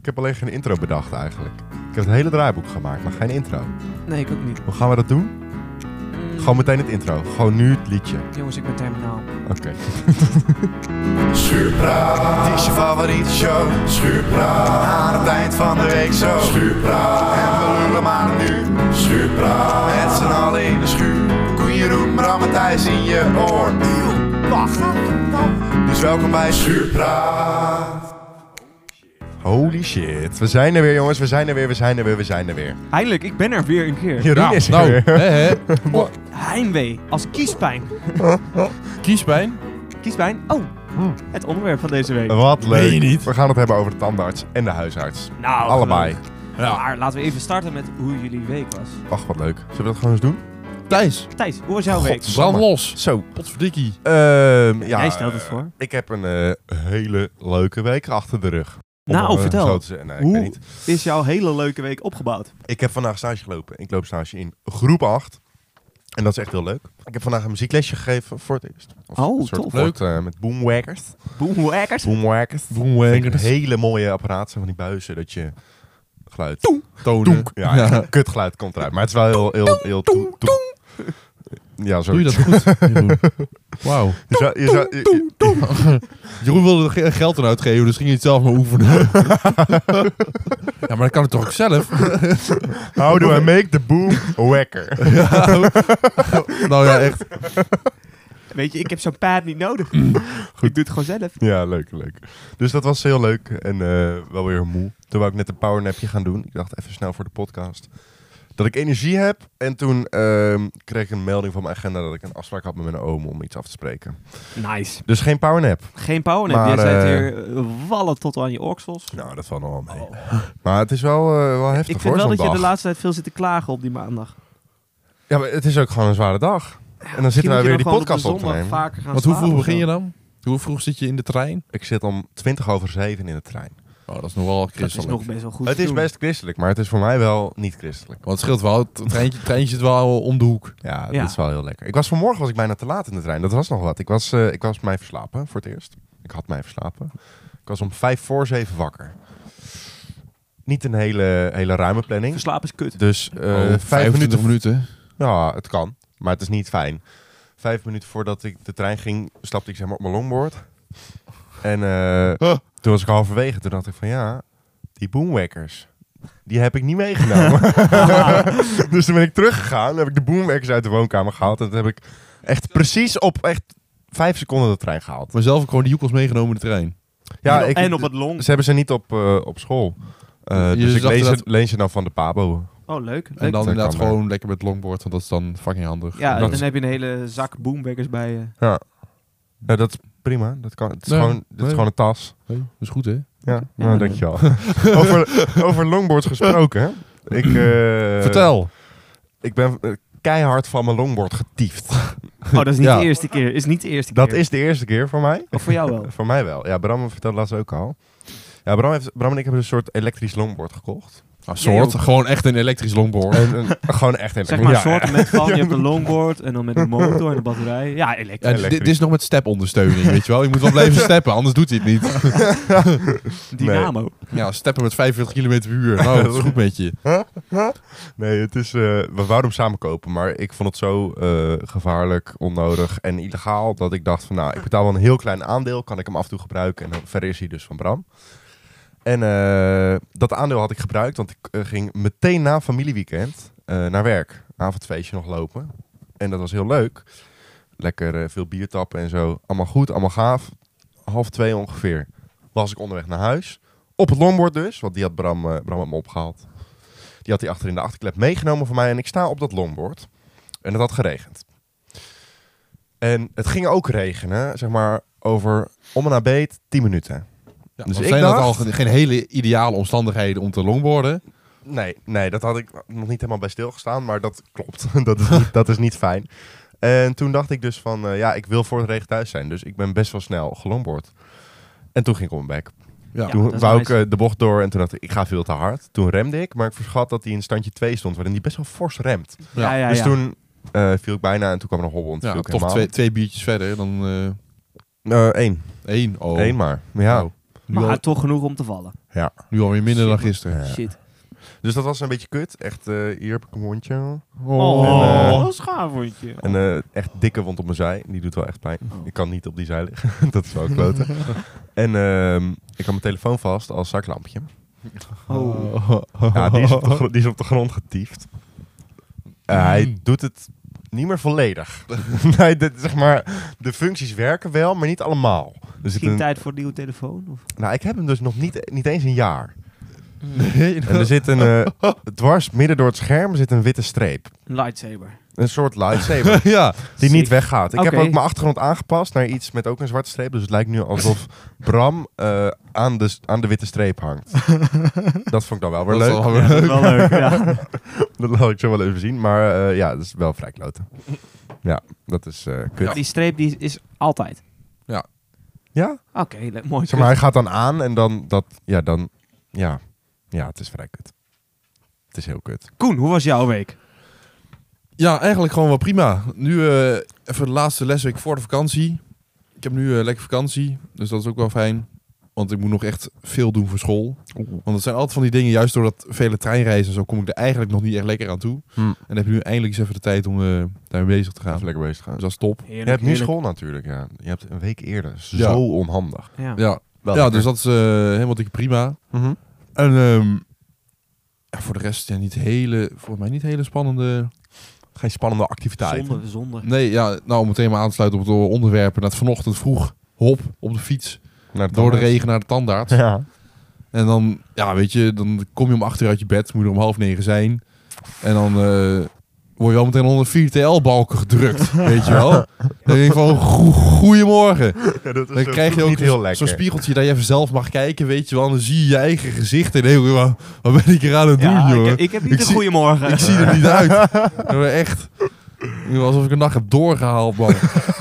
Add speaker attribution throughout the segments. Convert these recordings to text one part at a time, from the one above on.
Speaker 1: Ik heb alleen geen intro bedacht eigenlijk. Ik heb een hele draaiboek gemaakt, maar geen intro.
Speaker 2: Nee, ik ook niet.
Speaker 1: Hoe gaan we dat doen?
Speaker 2: Mm,
Speaker 1: Gewoon meteen het intro. Gewoon nu het liedje.
Speaker 2: Jongens, ik ben terminaal.
Speaker 1: Oké. Schuurpraat. Het is je favoriete show. Schuurpraat. Aan het eind van de week zo. Schuurpraat. En we lullen maar nu. Schuurpraat. Met z'n allen in de schuur. Koen Jeroen, Bram en Thijs in je oor. Wacht. Dus welkom bij Schuurpraat. Holy shit. We zijn er weer jongens. We zijn er weer. We zijn er weer. We zijn er weer.
Speaker 2: Eindelijk, ik ben er weer een keer.
Speaker 1: Jeroen is er
Speaker 3: nou,
Speaker 1: weer.
Speaker 3: hè, hè.
Speaker 2: Oh, heimwee, als kiespijn.
Speaker 3: kiespijn.
Speaker 2: Kiespijn? Oh,
Speaker 1: Hmm.
Speaker 2: het onderwerp van deze week.
Speaker 1: Wat leuk.
Speaker 3: Meen je niet?
Speaker 1: We gaan het hebben over de tandarts en de huisarts.
Speaker 2: Nou,
Speaker 1: Allebei.
Speaker 2: geweldig.
Speaker 3: Ja.
Speaker 2: Maar laten we even starten met hoe jullie week was.
Speaker 1: Ach, wat leuk. Zullen we dat gewoon eens doen?
Speaker 3: Thijs,
Speaker 2: Thijs, hoe was jouw week?
Speaker 3: brand los.
Speaker 1: Zo.
Speaker 3: Potverdikkie.
Speaker 1: Ehm, ja,
Speaker 2: Jij stelt het voor.
Speaker 1: Ik heb een eh, hele leuke week achter de rug. Om
Speaker 2: Nou,
Speaker 1: het
Speaker 2: vertel.
Speaker 1: Zo te zeggen. Nee, ik,
Speaker 2: Hoe-
Speaker 1: weet niet.
Speaker 2: Is jouw hele leuke week opgebouwd?
Speaker 1: ik heb vandaag stage gelopen. Ik loop stage in groep 8. En dat is echt heel leuk. Ik heb vandaag een muzieklesje gegeven voor het eerst. Of
Speaker 2: Oh,
Speaker 1: een soort
Speaker 2: tof.
Speaker 1: Leuk. met boomwackers.
Speaker 2: Boomwackers?
Speaker 1: Boomwackers.
Speaker 3: Boomwackers.
Speaker 1: Hele mooie apparaten zijn van die buizen dat je geluid...
Speaker 3: Tonen.
Speaker 1: Toenk. Ja, ja. een kutgeluid komt eruit. Maar het is wel heel... heel, heel, toenk, toenk. Ja, zo.
Speaker 3: Doe je dat goed, Jeroen? Wauw.
Speaker 1: Je zou- je zou- je- je-
Speaker 3: Jeroen wilde er ge- geld aan uitgeven, dus ging hij het zelf maar oefenen. ja, maar dat kan het toch ook zelf?
Speaker 1: How do I make the boom wacker?
Speaker 3: nou ja, echt.
Speaker 2: Weet je, ik heb zo'n pad niet nodig.
Speaker 1: Mm.
Speaker 2: Ik doe het gewoon zelf.
Speaker 1: Ja, leuk, leuk. Dus dat was heel leuk en eh, wel weer moe. Toen wou ik net een powernapje gaan doen. Ik dacht even snel voor de podcast. Dat ik energie heb. En toen ehm, kreeg ik een melding van mijn agenda dat ik een afspraak had met mijn oom om iets af te spreken.
Speaker 2: Nice.
Speaker 1: Dus geen powernap.
Speaker 2: Geen powernap.
Speaker 1: Maar,
Speaker 2: Jij zit
Speaker 1: eh,
Speaker 2: hier eh, wallen tot aan je oksels.
Speaker 1: Nou, dat valt nog wel mee.
Speaker 2: Oh.
Speaker 1: Maar het is wel, eh, wel heftig
Speaker 2: Ik vind
Speaker 1: hoor,
Speaker 2: wel
Speaker 1: zo'n
Speaker 2: dat je de
Speaker 1: dag.
Speaker 2: laatste tijd veel zit te klagen op die maandag.
Speaker 1: Ja, maar het is ook gewoon een zware dag. En dan zitten
Speaker 2: Misschien
Speaker 1: wij
Speaker 2: moet je
Speaker 1: weer
Speaker 2: dan
Speaker 1: die
Speaker 2: gewoon op de
Speaker 1: podcast op te
Speaker 2: zondag
Speaker 1: nemen.
Speaker 2: vaker gaan
Speaker 3: Want hoe
Speaker 2: slapen
Speaker 3: vroeg
Speaker 2: of
Speaker 3: begin
Speaker 2: zo.
Speaker 3: je dan? Hoe vroeg zit je in de trein?
Speaker 1: Ik zit om 20 over 7 in de trein.
Speaker 3: Oh, dat is nog wel
Speaker 2: Dat is
Speaker 3: christelijk.
Speaker 2: nog best wel goed
Speaker 1: Het
Speaker 2: te
Speaker 1: is
Speaker 2: doen.
Speaker 1: best christelijk, maar het is voor mij wel niet christelijk.
Speaker 3: Want het scheelt wel, het treintje, treintje zit wel om de hoek.
Speaker 1: Ja, dat
Speaker 2: Ja.
Speaker 1: is wel heel lekker. Ik was vanmorgen was ik bijna te laat in de trein. Dat was nog wat. Ik was, eh, ik was mij verslapen voor het eerst. Ik had mij verslapen. Ik was om vijf voor zeven wakker. Niet een hele, hele ruime planning.
Speaker 2: Verslapen is kut.
Speaker 1: Dus eh,
Speaker 3: Oh,
Speaker 1: vijf
Speaker 3: 25
Speaker 1: minuten.
Speaker 3: minuten.
Speaker 1: Ja, het kan. Maar het is niet fijn. Vijf minuten voordat ik de trein ging, stapte ik zeg maar op mijn longboard. En eh,
Speaker 3: Huh.
Speaker 1: toen was ik halverwege. Toen dacht ik van ja, die boomwackers, die heb ik niet meegenomen. dus toen ben ik teruggegaan. Toen heb ik de boomwackers uit de woonkamer gehaald. En toen heb ik echt precies op echt vijf seconden de trein gehaald.
Speaker 3: Maar zelf heb ik gewoon die joekels meegenomen in de trein.
Speaker 1: Ja,
Speaker 2: en,
Speaker 1: ik,
Speaker 2: en op het long.
Speaker 1: ze hebben ze niet op, eh, op school. Eh,
Speaker 3: Je
Speaker 1: dus ik
Speaker 3: zag
Speaker 1: leen ze,
Speaker 3: dat-
Speaker 1: leen ze dan van de pabo.
Speaker 2: Oh, leuk. leuk.
Speaker 3: En dan
Speaker 1: Dat
Speaker 3: inderdaad
Speaker 1: kan, maar.
Speaker 3: gewoon lekker met longboard, want dat is dan fucking handig.
Speaker 2: ja,
Speaker 1: dat
Speaker 2: dan
Speaker 1: is-
Speaker 2: heb je een hele zak boombaggers bij je.
Speaker 1: Ja. Nou, dat is prima. Dat kan, het is,
Speaker 3: Nee,
Speaker 1: gewoon, het is
Speaker 3: nee.
Speaker 1: gewoon een tas.
Speaker 3: Hey, dat is goed, hè?
Speaker 1: Ja,
Speaker 2: Ja,
Speaker 1: nou,
Speaker 2: dat-
Speaker 1: dankjewel. over, over longboards gesproken. hè. Ik, eh,
Speaker 3: Vertel.
Speaker 1: Ik ben eh, keihard van mijn longboard getiefd.
Speaker 2: Oh, dat is niet
Speaker 3: Ja.
Speaker 2: de eerste keer. Is niet de eerste
Speaker 1: Dat
Speaker 2: keer.
Speaker 1: is de eerste keer voor mij.
Speaker 2: Of voor jou wel.
Speaker 1: Voor mij wel. Ja, Bram vertelde laatst ook al. Ja, Bram, heeft, Bram en ik hebben een soort elektrisch longboard gekocht.
Speaker 3: Ah,
Speaker 2: Jij
Speaker 3: soort.
Speaker 2: ook.
Speaker 3: Gewoon echt een elektrisch longboard.
Speaker 1: En, een- gewoon echt elektrisch.
Speaker 2: Zeg maar een
Speaker 1: Ja,
Speaker 2: soort
Speaker 1: ja.
Speaker 2: met van, je hebt een longboard en dan met een motor en een batterij. Ja,
Speaker 3: Ja,
Speaker 2: elektrisch.
Speaker 3: dit,
Speaker 1: Elektrisch.
Speaker 3: dit is nog met stepondersteuning, weet je wel. Je moet wel blijven steppen, anders doet hij het niet.
Speaker 2: Dynamo.
Speaker 3: Ja, steppen met 45 km per uur. Nou, dat is goed met je.
Speaker 1: Nee, het is, eh, we wouden hem samen kopen, maar ik vond het zo eh, gevaarlijk, onnodig en illegaal dat ik dacht van nou, ik betaal wel een heel klein aandeel, kan ik hem af en toe gebruiken en dan verder is hij dus van Bram. En eh, dat aandeel had ik gebruikt, want ik eh, ging meteen na familieweekend eh, naar werk, avondfeestje nog lopen. En dat was heel leuk. Lekker eh, veel bier tappen en zo. Allemaal goed, allemaal gaaf. Half twee ongeveer was ik onderweg naar huis. Op het longboard dus, want die had Bram, eh, Bram had me opgehaald. Die had hij achter in de achterklep meegenomen van mij. En ik sta op dat longboard. En het had geregend. En het ging ook regenen, zeg maar, over om en nabeet 10 minuten. Dus
Speaker 3: Ja, dus
Speaker 1: ik
Speaker 3: zijn dat al
Speaker 1: dacht-
Speaker 3: ge- geen hele ideale omstandigheden om te longboarden?
Speaker 1: Nee, nee, dat had ik nog niet helemaal bij stilgestaan, maar dat klopt. dat, is niet, dat is niet fijn. En toen dacht ik dus van, eh, ja, ik wil voor het regen thuis zijn. Dus ik ben best wel snel gelongboard. En toen ging ik om mijn bek.
Speaker 3: Ja.
Speaker 2: Ja.
Speaker 1: toen
Speaker 2: dat is
Speaker 1: wou
Speaker 2: nice.
Speaker 1: ik eh, de bocht door en toen dacht ik, ik ga veel te hard. Toen remde ik, maar ik verschat dat hij in standje 2 stond, waarin hij best wel fors remt.
Speaker 2: Ja, ja, ja.
Speaker 1: Dus toen eh, viel ik bijna en toen kwam er een hobbel. en toen
Speaker 3: Ja,
Speaker 1: viel ik
Speaker 3: toch twee,
Speaker 1: helemaal.
Speaker 3: twee biertjes verder dan
Speaker 1: Eh,
Speaker 3: eh
Speaker 1: één.
Speaker 3: één. Oh.
Speaker 1: Eén maar. Ja.
Speaker 3: Oh. Nu
Speaker 2: Maar
Speaker 3: al-
Speaker 2: toch genoeg om te vallen.
Speaker 1: Ja.
Speaker 3: Nu alweer minder
Speaker 2: Shit,
Speaker 3: dan
Speaker 2: man.
Speaker 3: gisteren.
Speaker 2: Shit.
Speaker 1: Dus dat was een beetje kut. Echt, eh, hier heb ik een hondje.
Speaker 2: Oh,
Speaker 1: En, eh,
Speaker 2: wat een schaaf vond je.
Speaker 1: En eh, echt dikke wond op mijn zij. Die doet wel echt pijn.
Speaker 3: Oh.
Speaker 1: Ik kan niet op die zij liggen. dat is wel kloten. en ehm, ik had mijn telefoon vast als zaklampje.
Speaker 2: Oh.
Speaker 1: Ja, die is op de, gro- die is op de grond getiefd. Eh, Hij
Speaker 3: Mm.
Speaker 1: doet het niet meer volledig. nee, dit, zeg maar, de functies werken wel, maar niet allemaal. Er zit
Speaker 2: Misschien
Speaker 1: een,
Speaker 2: tijd voor een nieuwe telefoon? Of?
Speaker 1: nou, ik heb hem dus nog niet, niet eens een jaar.
Speaker 3: Nee,
Speaker 1: En er zit een, eh, dwars midden door het scherm zit een witte streep.
Speaker 2: Een lightsaber.
Speaker 1: Een soort lightsaber
Speaker 3: ja.
Speaker 1: die niet
Speaker 2: Sick.
Speaker 1: weggaat. Ik
Speaker 2: Oké.
Speaker 1: heb ook mijn achtergrond aangepast naar iets met ook een zwarte streep. Dus het lijkt nu alsof Bram eh, aan, de, aan de witte streep hangt. dat vond ik dan wel weer
Speaker 3: Dat is
Speaker 1: leuk.
Speaker 2: Ja,
Speaker 3: wel
Speaker 2: dat is wel leuk. Ja.
Speaker 1: Dat laat ik zo wel even zien. Maar eh, ja, dat is wel vrij kloten. Ja, dat is eh kut. Ja?
Speaker 2: Die streep die is altijd. Oké, le- mooi.
Speaker 1: Zeg maar, hij gaat dan aan en dan dat... Ja, dan... Ja, ja het is vrij kut. Het is heel kut.
Speaker 2: Koen, hoe was jouw week?
Speaker 3: Ja, eigenlijk gewoon wel prima. Nu eh, even de laatste lesweek voor de vakantie. Ik heb nu eh, lekker vakantie, dus dat is ook wel fijn. Want ik moet nog echt veel doen voor school. Want het zijn altijd van die dingen, juist door dat vele treinreizen en zo, kom ik er eigenlijk nog niet echt lekker aan toe.
Speaker 1: Hm.
Speaker 3: En dan heb je nu eindelijk eens even de tijd om eh, daarmee bezig te gaan.
Speaker 1: Even lekker bezig gaan.
Speaker 3: Dus dat is top.
Speaker 1: Je hebt nu school natuurlijk, ja. Je hebt een week eerder. Zo
Speaker 3: Ja.
Speaker 1: onhandig.
Speaker 2: Ja.
Speaker 3: Ja,
Speaker 1: Wel
Speaker 3: ja
Speaker 1: lekker.
Speaker 3: dus dat is eh, helemaal dikke prima.
Speaker 1: Mhm.
Speaker 3: En ehm, ja, voor de rest, ja, niet hele, volgens mij niet hele spannende
Speaker 1: Geen spannende activiteit.
Speaker 2: Zonde, zonde.
Speaker 3: Nee, ja, nou om meteen maar aan te sluiten op het onderwerp. En dat vanochtend vroeg, hop, op de fiets,
Speaker 1: Naar
Speaker 3: door de regen naar de tandarts.
Speaker 1: Ja.
Speaker 3: En dan, ja, weet je, dan kom je om acht uur uit je bed, moet je er om half negen zijn. En dan eh, word je al meteen onder vier TL-balken gedrukt, weet je wel. Dan denk je van, goe- goeiemorgen.
Speaker 1: dat
Speaker 3: Dan krijg je ook
Speaker 1: niet heel
Speaker 3: zo'n
Speaker 1: lekker.
Speaker 3: zo'n spiegeltje dat je even zelf mag kijken, weet je wel. En dan zie je je eigen gezicht en denk je, "Wa- wat ben ik hier aan het doen,
Speaker 2: Ja,
Speaker 3: jongen?
Speaker 2: ik, ik heb niet
Speaker 3: Ik
Speaker 2: een
Speaker 3: zie-
Speaker 2: goede morgen.
Speaker 3: Ik zie er niet uit. Maar Echt. Alsof ik een nacht heb doorgehaald, man.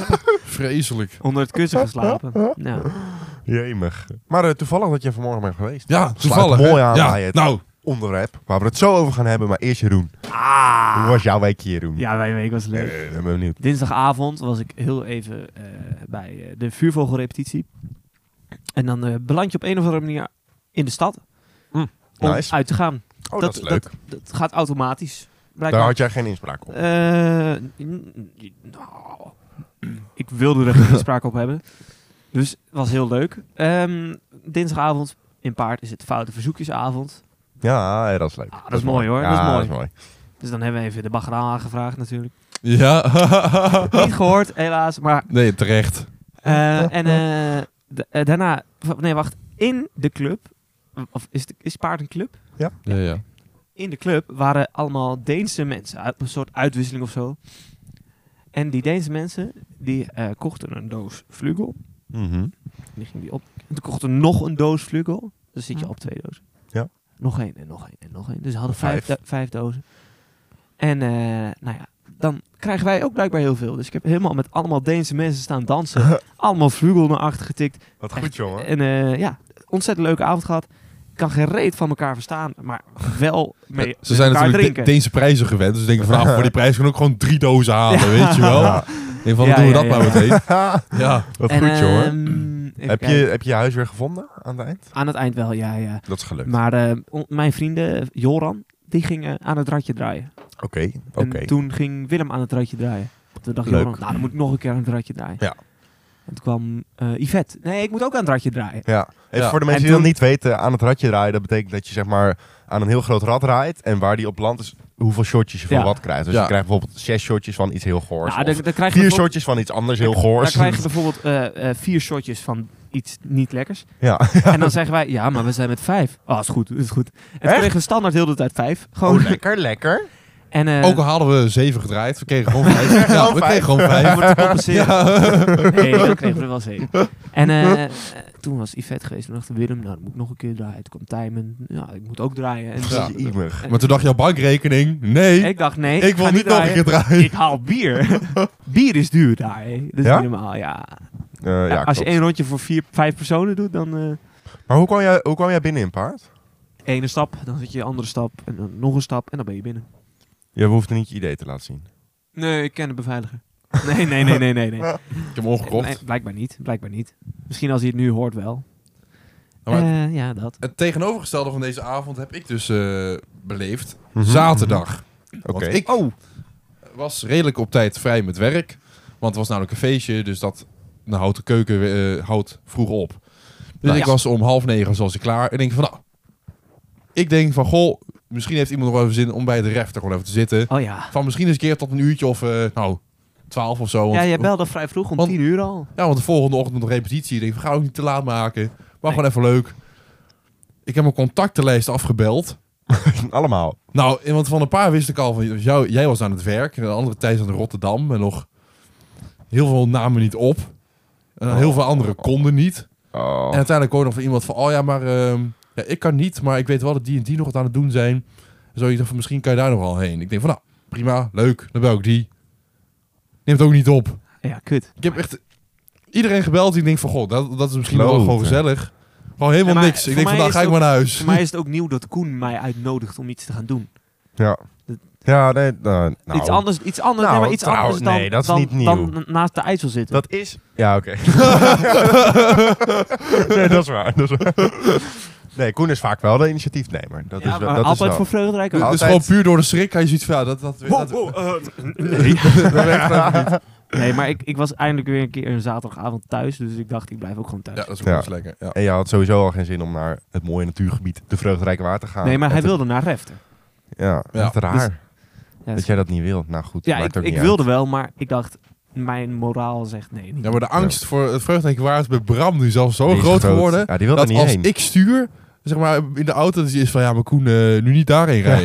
Speaker 3: Vreselijk.
Speaker 2: Onder het kussen geslapen. Nou.
Speaker 1: Jemig. Maar eh, toevallig dat je vanmorgen bent geweest.
Speaker 3: Ja, toevallig.
Speaker 1: mooi
Speaker 3: hè?
Speaker 1: aan
Speaker 3: ja,
Speaker 1: bij het-
Speaker 3: Nou,
Speaker 1: Onderwerp, waar we het zo over gaan hebben. Maar eerst Jeroen. Hoe was jouw weekje, Jeroen?
Speaker 2: Ah. Ja, mijn week was
Speaker 1: Eh,
Speaker 2: leuk.
Speaker 1: ik ben benieuwd.
Speaker 2: Dinsdagavond was ik heel even eh, bij eh, de vuurvogelrepetitie. En dan eh, beland je op een of andere manier in de stad om
Speaker 1: Nice.
Speaker 2: uit te gaan.
Speaker 1: Oh, dat, is leuk.
Speaker 2: Dat, dat gaat automatisch.
Speaker 1: Daar
Speaker 2: Blijkbaar.
Speaker 1: had jij geen inspraak op.
Speaker 2: Eh, n- n- nou, ik wilde er geen sprake op hebben. Dus het was heel leuk. Ehm, dinsdagavond in Paard is het foute verzoekjesavond.
Speaker 1: Ja, ja, dat is leuk.
Speaker 2: Ah, dat is mooi, hoor. Dat is
Speaker 1: Ja,
Speaker 2: mooi.
Speaker 1: dat is mooi.
Speaker 2: Dus dan hebben we even de bagraan aangevraagd natuurlijk.
Speaker 3: ja.
Speaker 2: Niet gehoord, helaas. Maar
Speaker 3: nee, terecht.
Speaker 2: Eh, en eh, da- eh, daarna, v- nee, wacht, in de club, of is, de- is paard een club?
Speaker 3: Ja, ja.
Speaker 2: In de club waren allemaal Deense mensen, uit, een soort uitwisseling of zo. En die Deense mensen, die eh, kochten een doos vlugel.
Speaker 1: Mhm.
Speaker 2: Die gingen die op. En toen kochten nog een doos vlugel. Dus zit je op twee dozen.
Speaker 1: Ja.
Speaker 2: Nog één en nog één en nog één. Dus ze hadden
Speaker 1: Vijf.
Speaker 2: vijf, do- vijf dozen. En eh, nou ja, dan krijgen wij ook blijkbaar heel veel. Dus ik heb helemaal met allemaal Deense mensen staan dansen. allemaal vlugel naar achter getikt.
Speaker 1: Wat
Speaker 2: Echt,
Speaker 1: goed, jongen.
Speaker 2: En eh, ja, ontzettend leuke avond gehad. Ik kan geen reet van elkaar verstaan, maar wel mee met
Speaker 3: Eh, Ze zijn
Speaker 2: elkaar
Speaker 3: natuurlijk
Speaker 2: drinken.
Speaker 3: de- Deense prijzen gewend. Dus ze denken vanavond voor die prijs kunnen we ook gewoon drie dozen halen, weet je wel.
Speaker 1: Ja.
Speaker 3: En van,
Speaker 2: Ja,
Speaker 3: doen we
Speaker 2: ja,
Speaker 3: dat
Speaker 2: ja, ja.
Speaker 3: maar meteen. Ja.
Speaker 1: Wat
Speaker 2: en,
Speaker 1: goed, jongen.
Speaker 2: ehm, even
Speaker 1: Heb je,
Speaker 2: kijken.
Speaker 1: heb je je huis weer gevonden aan het eind?
Speaker 2: Aan het eind wel, ja, ja.
Speaker 1: Dat is gelukt.
Speaker 2: Maar eh, on- mijn vrienden, Joran, die ging eh, aan het ratje draaien.
Speaker 1: Oké, oké.
Speaker 2: En toen ging Willem aan het ratje draaien. Toen dacht
Speaker 1: Leuk.
Speaker 2: Joran, nou dan moet ik nog een keer aan het ratje draaien.
Speaker 1: Ja.
Speaker 2: En toen kwam eh, Yvette, nee ik moet ook aan het ratje draaien.
Speaker 1: Ja. Even
Speaker 3: Ja.
Speaker 1: voor de mensen
Speaker 2: En
Speaker 1: die dat
Speaker 2: toen-
Speaker 1: niet weten, aan het radje draaien, dat betekent dat je zeg maar aan een heel groot rad rijdt en waar die op landt is hoeveel shotjes je van
Speaker 2: Ja.
Speaker 1: wat krijgt. Dus
Speaker 3: Ja.
Speaker 1: je krijgt bijvoorbeeld zes shotjes van iets heel goors.
Speaker 2: Nou,
Speaker 1: of
Speaker 2: dan, dan krijg je
Speaker 1: vier
Speaker 2: bijvoorbeeld-
Speaker 1: shotjes van iets anders heel
Speaker 2: dan
Speaker 1: goors.
Speaker 2: krijg je bijvoorbeeld eh, eh, vier shotjes van iets niet lekkers.
Speaker 1: Ja.
Speaker 2: En dan zeggen wij, ja, maar we zijn met vijf. Oh, is goed, is goed. En toen
Speaker 1: Echt?
Speaker 2: kregen we standaard heel de tijd vijf. Gewoon.
Speaker 1: Oh, lekker, lekker.
Speaker 2: en, eh,
Speaker 3: Ook al hadden we zeven gedraaid, we kregen gewoon vijf. Ja, we kregen gewoon
Speaker 2: om
Speaker 3: vijf.
Speaker 2: het te compenseren.
Speaker 3: Ja.
Speaker 2: Nee, dan kregen we er wel zeven. En eh, eh, toen was Yvette geweest. Toen dacht Willem, nou, dat moet ik nog een keer draaien. Toen kwam Tijmen. Ja, ik moet ook draaien. En dus-
Speaker 3: Ja.
Speaker 2: toen-
Speaker 1: Iemig.
Speaker 3: Maar toen dacht jouw bankrekening, nee, ik,
Speaker 2: Ik dacht, nee, ik,
Speaker 3: wil
Speaker 2: ga
Speaker 3: niet nog een
Speaker 2: draaien.
Speaker 3: keer draaien.
Speaker 2: Ik haal bier. bier is duur daar, hè. Dat is
Speaker 1: Ja?
Speaker 2: niet normaal, ja.
Speaker 1: Eh, ja,
Speaker 2: Ja, Als je
Speaker 1: klopt.
Speaker 2: één rondje voor vier, vijf personen doet, dan... eh,
Speaker 1: Maar hoe kwam, jij, hoe kwam jij binnen in paard?
Speaker 2: ene stap, dan zit je een andere stap. En dan nog een stap. En dan ben je binnen.
Speaker 1: Je hoeft niet je idee te laten zien.
Speaker 2: Nee, ik ken de beveiliger. Nee, nee, nee, nee, nee. nee.
Speaker 3: Ik heb hem omgekocht.
Speaker 2: Nee, blijkbaar niet, blijkbaar niet. Misschien als hij het nu hoort wel.
Speaker 1: Oh,
Speaker 3: Nou, maar
Speaker 2: Eh, ja, dat.
Speaker 3: Het tegenovergestelde van deze avond heb ik dus eh, beleefd.
Speaker 1: Mhm.
Speaker 3: Zaterdag.
Speaker 1: Oké.
Speaker 3: Want ik
Speaker 2: Oh.
Speaker 3: was redelijk op tijd vrij met werk. Want het was namelijk een feestje, dus dat de houten keuken eh, houdt vroeg op. Dus
Speaker 1: Nou,
Speaker 3: ik
Speaker 1: ja.
Speaker 3: was om half negen zoals ik klaar. En denk van, nou, ik denk van, goh, misschien heeft iemand nog wel even zin om bij de refter gewoon even te zitten.
Speaker 2: Oh ja.
Speaker 3: Van misschien eens een keer tot een uurtje of, eh, nou, twaalf of zo. Want,
Speaker 2: Ja, je belde vrij vroeg, om
Speaker 3: want-
Speaker 2: tien uur al.
Speaker 3: ja, want de volgende ochtend nog repetitie. Ik denk, we gaan ook niet te laat maken. Maar
Speaker 2: Nee.
Speaker 3: gewoon even leuk. Ik heb mijn contactenlijst afgebeld.
Speaker 1: Allemaal.
Speaker 3: Nou, en want van een paar wist ik al van jou, jij was aan het werk. En de andere Thijs aan Rotterdam. En nog heel veel namen niet op. En heel veel anderen konden niet.
Speaker 1: Oh.
Speaker 3: En uiteindelijk hoorde nog van iemand van, oh ja, maar ehm, ja, ik kan niet. Maar ik weet wel dat die en die nog wat aan het doen zijn. En zo, ik dacht van, misschien kan je daar nog wel heen. Ik denk van, nou, prima, leuk. Dan bel ik die. Neemt ook niet op.
Speaker 2: Ja, kut.
Speaker 3: Ik heb echt iedereen gebeld die denkt van, god, dat, dat is misschien wel
Speaker 1: Kloten.
Speaker 3: gewoon gezellig. Gewoon helemaal
Speaker 2: Ja, maar
Speaker 3: niks.
Speaker 2: voor
Speaker 3: Ik denk
Speaker 2: mij is
Speaker 3: vandaag ga ik
Speaker 2: het
Speaker 3: maar naar huis.
Speaker 2: Voor mij is het ook nieuw dat Koen mij uitnodigt om iets te gaan doen.
Speaker 1: Ja.
Speaker 2: Dat-
Speaker 1: Ja, nee. nou, nou,
Speaker 2: Iets anders, iets anders,
Speaker 1: Nou,
Speaker 2: nee, maar iets
Speaker 1: trouw-
Speaker 2: anders dan,
Speaker 1: nee, dat is
Speaker 2: dan,
Speaker 1: niet nieuw.
Speaker 2: dan naast de IJssel zitten.
Speaker 1: Dat is... Ja, oké. nee, dat is waar. Dat is waar. Nee, Koen is vaak wel de initiatiefnemer. Dat
Speaker 2: ja,
Speaker 1: is, wel-
Speaker 2: maar
Speaker 1: dat
Speaker 2: altijd
Speaker 1: is wel.
Speaker 2: voor vreugdrijk
Speaker 3: dus
Speaker 2: ook.
Speaker 1: altijd-
Speaker 3: gewoon puur door de schrik hij je zoiets van, ja, dat, dat, dat,
Speaker 2: nee.
Speaker 3: dat werkt gewoon niet.
Speaker 2: nee, maar ik, ik was eindelijk weer een keer een zaterdagavond thuis, dus ik dacht ik blijf ook gewoon thuis.
Speaker 3: Ja, dat is ook
Speaker 1: Ja.
Speaker 3: wel eens lekker. Ja.
Speaker 1: En je had sowieso al geen zin om naar het mooie natuurgebied de Vreugdrijke Waard te gaan.
Speaker 2: nee, maar
Speaker 1: En
Speaker 2: hij
Speaker 1: te-
Speaker 2: wilde naar Refter.
Speaker 1: Ja,
Speaker 3: Ja.
Speaker 1: echt raar.
Speaker 2: Ja, dus-
Speaker 1: dat jij dat niet wil. Nou goed,
Speaker 2: ja,
Speaker 1: maakt
Speaker 2: ik,
Speaker 1: ook
Speaker 2: ik
Speaker 1: niet
Speaker 2: wilde wel, maar ik dacht, mijn moraal zegt nee. Niet.
Speaker 3: ja, maar de angst voor het vreugdijk waar is bij Bram nu zelfs zo
Speaker 1: uit. Die
Speaker 3: groot,
Speaker 1: is
Speaker 3: geworden.
Speaker 1: Ja, die wil er
Speaker 3: Dat
Speaker 1: niet
Speaker 3: als
Speaker 1: heen.
Speaker 3: ik stuur, zeg maar in de auto, dat hij is van, ja, maar Koen, eh, nu niet daarheen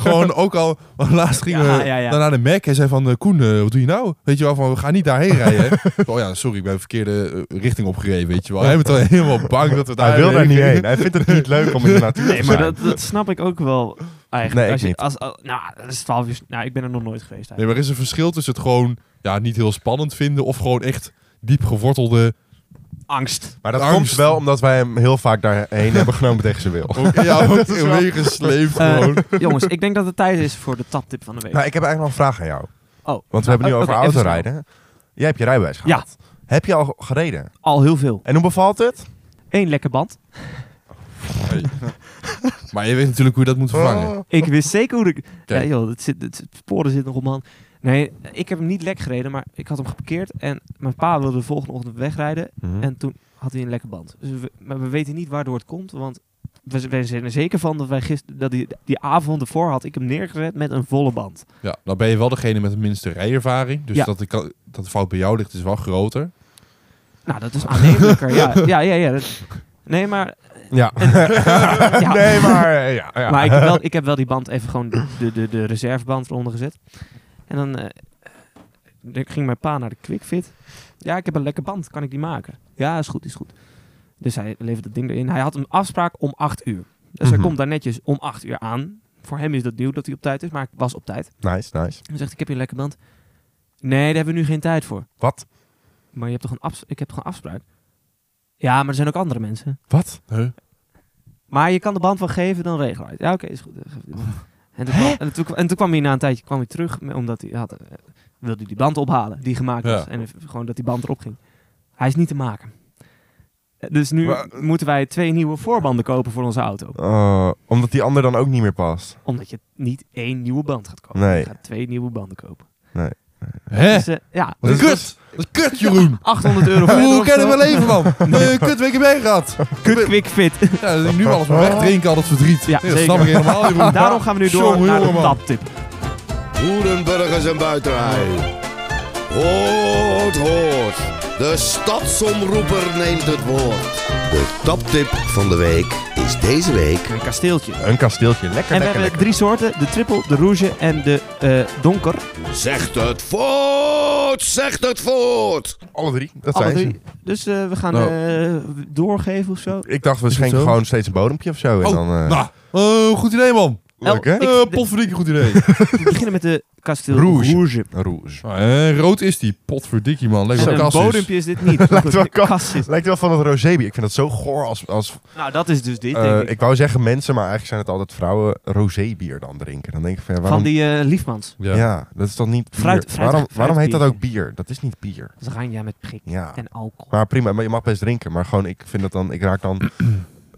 Speaker 3: Gewoon ook al, want laatst gingen
Speaker 2: Ja,
Speaker 3: we
Speaker 2: ja, ja.
Speaker 3: dan naar de Mac en zei van, eh, Koen, eh, wat doe je nou? Weet je wel, van, we gaan niet daarheen rijden. Van, oh ja, sorry, ik ben de verkeerde eh, richting opgereden, weet je wel. Hij bent al helemaal bang dat we daar
Speaker 1: Hij wil daar niet heen. Hij vindt het niet leuk om in de natuur
Speaker 2: Nee,
Speaker 1: te
Speaker 2: maar
Speaker 1: zijn.
Speaker 2: dat, dat snap ik ook wel
Speaker 1: Nee,
Speaker 2: eigenlijk.
Speaker 1: ik
Speaker 2: als je,
Speaker 1: niet.
Speaker 2: Als, als- nou, dat is 12 uur. Nou, ik ben er nog nooit geweest
Speaker 3: Nee,
Speaker 2: eigenlijk.
Speaker 3: maar er is een verschil tussen het gewoon ja, niet heel spannend vinden of gewoon echt diep gewortelde...
Speaker 2: Angst.
Speaker 1: Maar dat
Speaker 3: Angst.
Speaker 1: komt wel omdat wij hem heel vaak daarheen hebben genomen tegen zijn wil.
Speaker 3: Ja, ook
Speaker 1: is wel-
Speaker 3: meegesleept
Speaker 2: Eh,
Speaker 3: gewoon.
Speaker 2: jongens, ik denk dat het tijd is voor de taptip van de week.
Speaker 1: Nou, ik heb eigenlijk nog een vraag aan jou.
Speaker 2: oh,
Speaker 1: Want we hebben nu
Speaker 2: oké,
Speaker 1: over
Speaker 2: even snel.
Speaker 1: autorijden. Jij hebt je rijbewijs
Speaker 2: Ja.
Speaker 1: gehad. Heb je al gereden?
Speaker 2: al heel veel.
Speaker 1: En hoe bevalt het?
Speaker 2: Eén lekker band.
Speaker 3: Maar je weet natuurlijk hoe je dat moet vervangen.
Speaker 1: Oh.
Speaker 2: Ik wist zeker hoe ik...
Speaker 3: Kijk.
Speaker 2: Ja, joh, het, zit, het, het sporen zit nog op man. Nee, ik heb hem niet lek gereden, maar ik had hem geparkeerd. En mijn pa wilde de volgende ochtend wegrijden.
Speaker 1: Hm.
Speaker 2: En toen had hij een lekke band. Dus we, maar we weten niet waardoor het komt, want we, z- we zijn er zeker van dat wij gisteren dat die, die avond ervoor had ik hem neergezet met een volle band.
Speaker 3: Ja, dan ben je wel degene met de minste rijervaring. Dus
Speaker 2: Ja.
Speaker 3: dat, de, ka- dat de fout bij jou ligt is wel groter.
Speaker 2: Nou, dat is aannemelijker. ja, ja, ja, ja. dat- nee, maar,
Speaker 1: Ja.
Speaker 2: Ja.
Speaker 1: Nee, maar eh, ja. ja.
Speaker 2: maar ik, heb wel, ik heb wel die band even gewoon de, de, de reserveband eronder gezet. En dan eh, dan ging mijn pa naar de QuickFit. Ja, ik heb een lekke band, kan ik die maken? Ja, is goed, is goed. Dus hij levert het ding erin. Hij had een afspraak om 8 uur. Dus hij
Speaker 1: Mhm.
Speaker 2: komt daar netjes om 8 uur aan. Voor hem is dat nieuw dat hij op tijd is, maar ik was op tijd.
Speaker 1: Nice, nice.
Speaker 2: En zegt, ik heb hier een lekker band. Nee, daar hebben we nu geen tijd voor.
Speaker 1: Wat?
Speaker 2: Maar je hebt toch een afs- ik heb toch een afspraak? Ja, maar er zijn ook andere mensen.
Speaker 1: Wat?
Speaker 3: Huh?
Speaker 2: Maar je kan de band wel geven, dan regel hij het. Ja, oké, is goed. Dan geef ik die band. En toen, kwam, en, toen, kwam- en toen kwam hij na een tijdje kwam hij terug, me- omdat hij had, eh, wilde hij die band ophalen die gemaakt was.
Speaker 3: Ja.
Speaker 2: En even- gewoon dat die band erop ging. Hij is niet te maken. Eh, Dus nu
Speaker 1: Maar-
Speaker 2: moeten wij twee nieuwe voorbanden kopen voor onze auto.
Speaker 1: Eh, omdat die ander dan ook niet meer past.
Speaker 2: Omdat je niet één nieuwe band gaat kopen.
Speaker 1: Nee.
Speaker 2: Je gaat twee nieuwe banden kopen.
Speaker 3: Hè?
Speaker 2: Dus, eh, ja,
Speaker 3: Wat
Speaker 1: Dus dat
Speaker 3: kut! Wat kut, Jeroen!
Speaker 2: 800 euro voor
Speaker 3: Hoe ken ik mijn leven, man? Eh, Kut, week heb je gehad.
Speaker 2: Kut quick fit.
Speaker 3: Ja, dat ik nu alles maar wegdrinken, al dat verdriet.
Speaker 2: Ja,
Speaker 3: Nee, dat
Speaker 2: zeker.
Speaker 3: snap ik helemaal, Jeroen.
Speaker 2: Daarom gaan we nu door
Speaker 3: Jongen,
Speaker 2: naar de
Speaker 3: jongen, man.
Speaker 2: taptip.
Speaker 4: Hoerenburgers en buitenrij. Hoort, hoort. De stadsomroeper neemt het woord. De taptip van de week is deze week...
Speaker 2: Een kasteeltje. En
Speaker 1: Een kasteeltje. Lekker,
Speaker 2: we
Speaker 1: lekker,
Speaker 2: hebben
Speaker 1: lekker.
Speaker 2: drie soorten. De triple, de rouge en de eh, donker.
Speaker 4: Zegt het voort, zegt het voort.
Speaker 1: Alle drie. Dat
Speaker 2: Alle
Speaker 1: zijn
Speaker 2: drie. Dus eh, we gaan
Speaker 1: Oh.
Speaker 3: Nou.
Speaker 2: eh, doorgeven of zo.
Speaker 1: ze. Ik dacht, we
Speaker 3: Is het
Speaker 1: schenken
Speaker 3: zo?
Speaker 1: gewoon steeds een bodempje of zo. En
Speaker 3: Oh,
Speaker 1: dan, eh,
Speaker 3: Nou, eh, goed idee, man.
Speaker 1: Leuk, hè?
Speaker 2: Oh, Ik-
Speaker 3: Eh, potverdikke goed idee.
Speaker 2: We beginnen met de Castel
Speaker 1: Rouge.
Speaker 2: Rouge.
Speaker 1: Rouge.
Speaker 3: Ah, eh, rood is die. Potverdikkie, man. Lekker
Speaker 1: Zo.
Speaker 2: En een
Speaker 3: kassies.
Speaker 2: bodempje is dit niet.
Speaker 1: Lijkt wel
Speaker 2: Een
Speaker 1: kas-
Speaker 2: kassis.
Speaker 1: Lijkt wel van het rosébier. Ik vind dat zo goor als... als
Speaker 2: Nou, dat is dus dit,
Speaker 1: eh,
Speaker 2: denk
Speaker 1: ik.
Speaker 2: ik.
Speaker 1: wou zeggen mensen, maar eigenlijk zijn het altijd vrouwen rosébier dan drinken. Dan denk ik van, ja, waarom...
Speaker 2: Van die eh, Liefmans.
Speaker 1: ja.
Speaker 3: Ja.
Speaker 1: dat is dan niet bier.
Speaker 2: Fruit- fruit-
Speaker 1: waarom waarom heet dat ook
Speaker 2: fruitbier.
Speaker 1: bier? Dat is niet bier.
Speaker 2: Dat gaan ja met prik
Speaker 1: Ja.
Speaker 2: en alcohol.
Speaker 1: Maar prima, maar je mag best drinken. Maar gewoon, ik vind dat dan... Ik raak dan